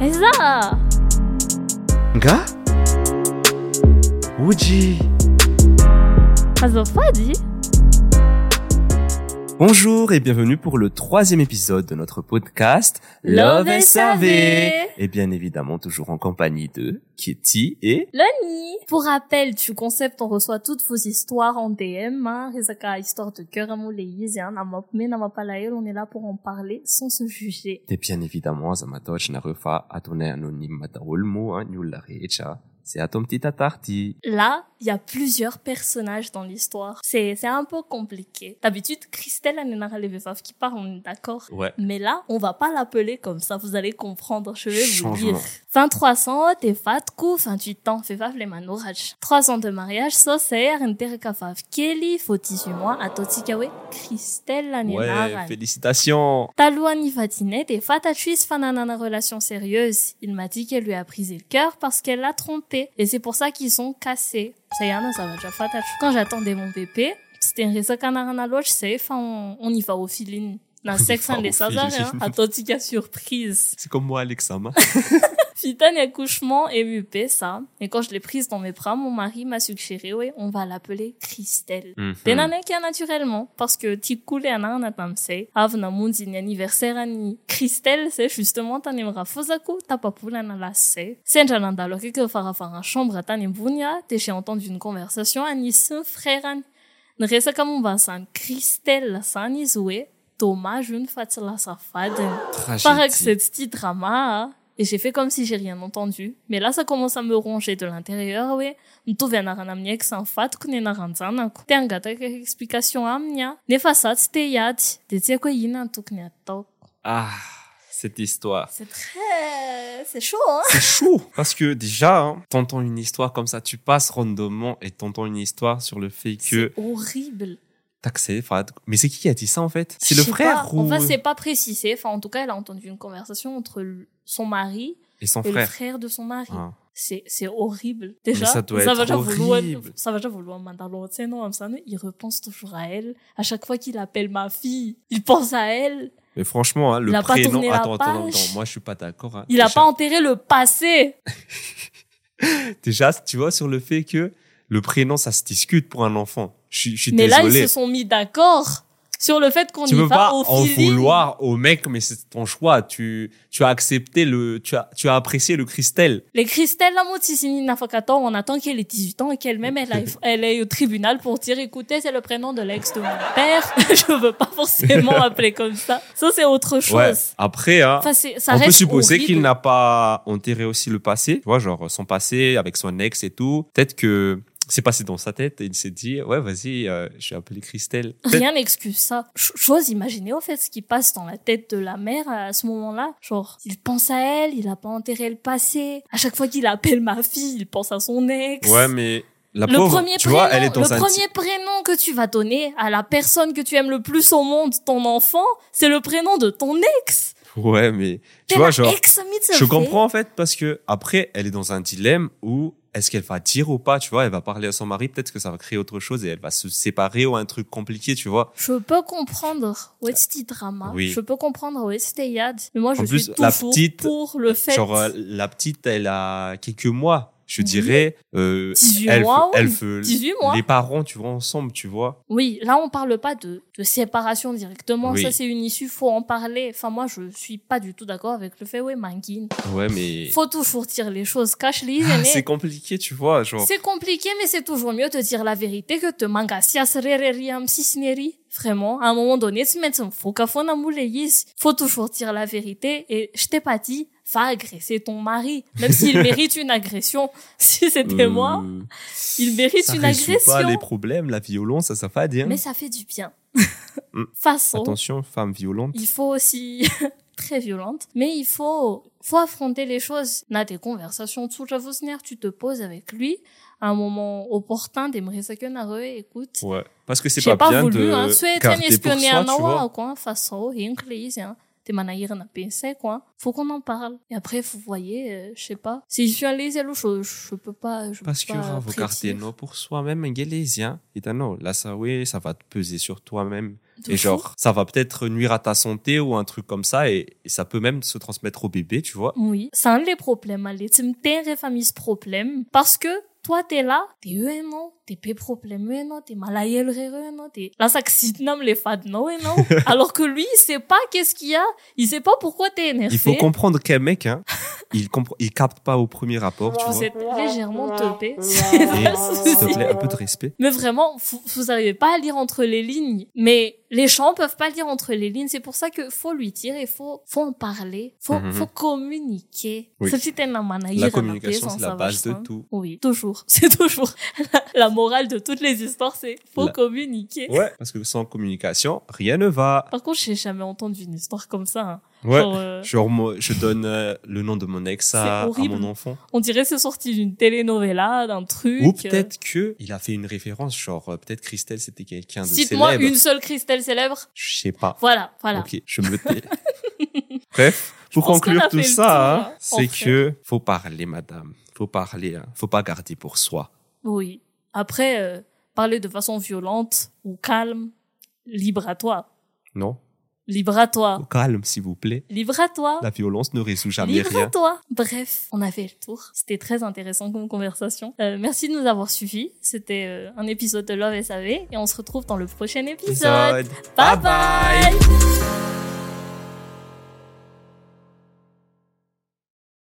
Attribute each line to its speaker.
Speaker 1: 热。
Speaker 2: Nga Wuji
Speaker 1: Fazer fadi
Speaker 2: Bonjour et bienvenue pour le troisième épisode de notre podcast Love SAV Et bien évidemment toujours en compagnie de Kitty et...
Speaker 1: Lani Pour rappel, tu concept, on reçoit toutes vos histoires en DM. Hein. Rizaka, histoire de cœur, amour, les yéziens, namop, mais namapalaël, on est là pour en parler sans se juger.
Speaker 2: Et bien évidemment, Zamatoch Narufa a tourné anonyme Mataolmo, hein, Nyula Recha. C'est à ton petit atarti.
Speaker 1: Là, il y a plusieurs personnages dans l'histoire. C'est, c'est un peu compliqué. D'habitude, Christelle Anenara Levefaf qui part, on est d'accord.
Speaker 2: Ouais.
Speaker 1: Mais là, on va pas l'appeler comme ça, vous allez comprendre, je vais vous
Speaker 2: Changement.
Speaker 1: dire. 2300, t'es fatkou, 28 ans, fais faf les manoraj. 3 ans de mariage, saucer, interkafaf, kelly, faut 18 mois, atotikawe, Christelle Anenara.
Speaker 2: félicitations
Speaker 1: Talouani Fatine, t'es fatachuis fan d'une relation sérieuse. Il m'a dit qu'elle lui a brisé le cœur parce qu'elle l'a trompé. Et c'est pour ça qu'ils sont cassés. Ça y est, non, ça va déjà fatachou. Quand j'attendais mon bébé, c'était un réseau canarana loge, c'est, enfin, on, on y va au feeling. Dans sexe,
Speaker 2: va
Speaker 1: on les
Speaker 2: au
Speaker 1: César, hein.
Speaker 2: feeling.
Speaker 1: Attentica surprise.
Speaker 2: C'est comme moi, Alexama.
Speaker 1: Fitane accouchement et UP, ça. Et quand je l'ai prise dans mes bras, mon mari m'a suggéré, ouais, on va l'appeler Christelle.
Speaker 2: Mhm.
Speaker 1: Denana qui naturellement parce que Tikule ana na tamse avna mundi ni anniversaire ani Christelle c'est justement tanemra fozaku tapapula na la se senja nandalo keke fara fara chambre tanembunya te j'ai entendu une conversation ani son frère ani nresa kamumba san Christelle san izwe Thomas je ne fatila sa faden Pareil que c'est petit drama. hein. Et j'ai fait comme si j'ai rien entendu. Mais là, ça commence à me ronger de l'intérieur, ouais. Mto vena rana mnia ki san fat kune na ranjana ko. Te angata ka explication amnia. Nefa sa tsy te hiady. De tsy haiko hoe inona ny tokony atao.
Speaker 2: Ah, cette histoire.
Speaker 1: C'est très... C'est chaud, hein
Speaker 2: C'est chaud Parce que déjà, hein, t'entends une histoire comme ça, tu passes randomment et t'entends une histoire sur le fait que
Speaker 1: C'est horrible.
Speaker 2: taxé, enfin, mais c'est qui qui a dit ça en fait C'est
Speaker 1: Je
Speaker 2: le
Speaker 1: sais
Speaker 2: frère
Speaker 1: pas.
Speaker 2: ou
Speaker 1: Enfin, c'est pas précisé. Enfin, en tout cas, elle a entendu une conversation entre l- son mari
Speaker 2: et son
Speaker 1: et le
Speaker 2: frère
Speaker 1: frère de son mari.
Speaker 2: Hein.
Speaker 1: c'est c'est horrible déjà
Speaker 2: ça doit être
Speaker 1: va déjà vouloir
Speaker 2: horrible.
Speaker 1: ça va déjà vouloir Mandalore tu sais non comme ça mais il repense toujours à elle à chaque fois qu'il appelle ma fille il pense à elle
Speaker 2: Mais franchement, hein, le
Speaker 1: Il a pas
Speaker 2: prénom.
Speaker 1: tourné la
Speaker 2: attends, attends,
Speaker 1: page.
Speaker 2: attends, moi je suis pas d'accord. hein.
Speaker 1: il a
Speaker 2: déjà,
Speaker 1: pas enterré le passé
Speaker 2: déjà, tu vois, sur le fait que le prénom ça se discute pour un enfant. Je suis- je suis
Speaker 1: mais là ils
Speaker 2: désolé.
Speaker 1: se sont mis d'accord sur le fait qu'on
Speaker 2: tu
Speaker 1: y
Speaker 2: peux
Speaker 1: va
Speaker 2: pas
Speaker 1: au
Speaker 2: en
Speaker 1: feeling
Speaker 2: vouloir au mec, mais c'est ton choix. Tu, tu as accepté le, tu as, tu as apprécié le Christelle.
Speaker 1: les Christelle Lamotisini Nafakato on attend qu'elle ait 18 ans et qu'elle-même elle, aille- elle est au tribunal pour dire écoutez c'est le prénom de l'ex de mon père je veux pas forcément appeler comme ça ça c'est autre chose
Speaker 2: Ouais. Après, hein,
Speaker 1: Enfin, c'est- ça
Speaker 2: on peut
Speaker 1: reste
Speaker 2: supposer qu'il
Speaker 1: horrible.
Speaker 2: n'a pas enterré aussi le passé, tu vois, genre son passé avec son ex et tout. Peut-être que c'est passé dans sa tête et il s'est dit, ouais, vas-y, euh, je vais appeler Christelle. Peut-être-
Speaker 1: Rien n'excuse ça. Ch- J'ose imaginer, au fait, ce qui passe dans la tête de la mère à ce moment-là. Genre, il pense à elle, il a pas enterré le passé. À chaque fois qu'il appelle ma fille, il pense à son ex.
Speaker 2: Ouais, mais la
Speaker 1: le
Speaker 2: pauvre,
Speaker 1: premier,
Speaker 2: tu
Speaker 1: prénom,
Speaker 2: vois, elle est dans
Speaker 1: le
Speaker 2: un
Speaker 1: premier prénom que tu vas donner à la personne que tu aimes le plus au monde, ton enfant, c'est le prénom de ton ex.
Speaker 2: Ouais, mais
Speaker 1: T'es
Speaker 2: tu vois,
Speaker 1: la
Speaker 2: genre,
Speaker 1: ex Mitsufi.
Speaker 2: je comprends en fait parce que après, elle est dans un dilemme où est-ce qu'elle va dire ou pas, tu vois, elle va parler à son mari, peut-être que ça va créer autre chose et elle va se séparer ou un truc compliqué, tu vois.
Speaker 1: Je peux comprendre Westy Drama.
Speaker 2: Oui.
Speaker 1: Je peux comprendre Westy Yad. Mais moi, je
Speaker 2: En plus,
Speaker 1: suis
Speaker 2: la
Speaker 1: toujours
Speaker 2: petite,
Speaker 1: pour le fait.
Speaker 2: Genre, euh, la petite, elle a quelques mois, je
Speaker 1: Oui.
Speaker 2: dirais. Euh,
Speaker 1: 18
Speaker 2: elle,
Speaker 1: mois,
Speaker 2: elle
Speaker 1: oui.
Speaker 2: veut
Speaker 1: 18 mois.
Speaker 2: les parents, tu vois, ensemble, tu vois.
Speaker 1: Oui, là on parle pas de, de séparation directement,
Speaker 2: Oui.
Speaker 1: ça c'est une issue, faut en parler. Enfin moi je suis pas du tout d'accord avec le fait, ouais Mangin,
Speaker 2: Ouais, mais
Speaker 1: faut toujours dire les choses, cache les
Speaker 2: c'est
Speaker 1: aînés.
Speaker 2: compliqué, tu vois, genre.
Speaker 1: C'est compliqué mais c'est toujours mieux de dire la vérité que de mangasias rereriam sisneri. Vraiment, à un moment donné, tu mets un faux cafon à moulayis. Faut toujours dire la vérité et je t'ai pas dit, va agresser ton mari, même s'il mérite une agression. Si c'était
Speaker 2: Euh,
Speaker 1: moi, il mérite
Speaker 2: ça
Speaker 1: une
Speaker 2: résout
Speaker 1: agression.
Speaker 2: pas les problèmes, la violence, ça, ça va dire.
Speaker 1: Mais ça fait du bien.
Speaker 2: Mm.
Speaker 1: Façon.
Speaker 2: Attention, femme violente.
Speaker 1: il faut aussi très violente, mais il faut faut affronter les choses. On a des conversations tout le temps, tu te poses avec lui à un moment opportun d'aimer ça que na re, écoute.
Speaker 2: Ouais. Parce que c'est
Speaker 1: J'ai
Speaker 2: pas,
Speaker 1: pas
Speaker 2: bien de
Speaker 1: voulu hein, souhaiter un
Speaker 2: garder pour
Speaker 1: espionner
Speaker 2: soi,
Speaker 1: un
Speaker 2: tu vois.
Speaker 1: quoi, façon rien que les, hein. t'es manahir na pensé quoi faut qu'on en parle et après vous voyez euh, je sais pas si je suis à l'aise je, je peux pas je
Speaker 2: Parce
Speaker 1: peux
Speaker 2: que
Speaker 1: pas
Speaker 2: vous gardez
Speaker 1: prédire.
Speaker 2: non pour soi-même, Galésien. Et t'as ah non, là, ça, oui, ça va te peser sur toi-même.
Speaker 1: De
Speaker 2: Et
Speaker 1: fou.
Speaker 2: genre, ça va peut-être nuire à ta santé ou un truc comme ça. Et, et ça peut même se transmettre au bébé, tu vois.
Speaker 1: Oui, c'est un des problèmes, allez. Tu me t'es famille ce problème. Parce que, toi, t'es là, t'es eux, non, t'es pas problème, eux, non, t'es mal à elle, eux, non, t'es, là, ça que Sidnam les fans, non, eux, non. Alors que lui, il sait pas qu'est-ce qu'il y a, il sait pas pourquoi t'es énervé.
Speaker 2: Il faut comprendre qu'un mec, hein, il, compre- il capte pas au premier rapport, tu
Speaker 1: Vous
Speaker 2: vois.
Speaker 1: êtes légèrement teupé.
Speaker 2: Et, S'il te
Speaker 1: souci.
Speaker 2: plaît, un peu de respect.
Speaker 1: Mais vraiment, vous, vous arrivez pas à lire entre les lignes. Mais les gens peuvent pas lire entre les lignes. C'est pour ça que faut lui dire et faut, faut en parler. Faut,
Speaker 2: Mhm.
Speaker 1: faut communiquer.
Speaker 2: Oui.
Speaker 1: Ça, c'était la manager,
Speaker 2: La
Speaker 1: la
Speaker 2: communication,
Speaker 1: présence,
Speaker 2: c'est la
Speaker 1: ça,
Speaker 2: base de
Speaker 1: vachement.
Speaker 2: tout.
Speaker 1: Oui, toujours. C'est toujours la, la morale de toutes les histoires, c'est faut
Speaker 2: La-
Speaker 1: communiquer.
Speaker 2: Ouais. Parce que sans communication, rien ne va.
Speaker 1: Par contre, j'ai jamais entendu une histoire comme ça. hein.
Speaker 2: Ouais.
Speaker 1: Genre, euh,
Speaker 2: Genre, moi, je donne euh, le nom de mon ex à, à
Speaker 1: C'est horrible.
Speaker 2: mon enfant.
Speaker 1: on dirait que c'est sorti d'une telenovela, d'un truc.
Speaker 2: Ou
Speaker 1: euh.
Speaker 2: peut-être que il a fait une référence, genre euh, peut-être Christelle c'était quelqu'un de
Speaker 1: Cite-moi
Speaker 2: célèbre.
Speaker 1: une seule Christelle célèbre.
Speaker 2: Je sais pas.
Speaker 1: Voilà, voilà.
Speaker 2: Ok, je me tais. Bref, pour
Speaker 1: pense qu'on
Speaker 2: conclure
Speaker 1: a
Speaker 2: tout
Speaker 1: fait le
Speaker 2: ça,
Speaker 1: tour,
Speaker 2: hein,
Speaker 1: hein,
Speaker 2: c'est
Speaker 1: en fait.
Speaker 2: que faut parler, madame. Faut parler. Hein. Faut pas garder pour soi.
Speaker 1: Oui. Après, euh, parler de façon violente ou calme, libre à toi.
Speaker 2: Non.
Speaker 1: Libre à toi.
Speaker 2: Au calme, s'il vous plaît.
Speaker 1: Libre à toi.
Speaker 2: La violence ne résout jamais
Speaker 1: Libre à
Speaker 2: rien.
Speaker 1: toi. Bref, on a fait le tour. C'était très intéressant comme conversation. Euh, merci de nous avoir suivis. C'était euh, un épisode de Love SAV et on se retrouve dans le prochain épisode.
Speaker 2: Épisode.
Speaker 1: bye. bye.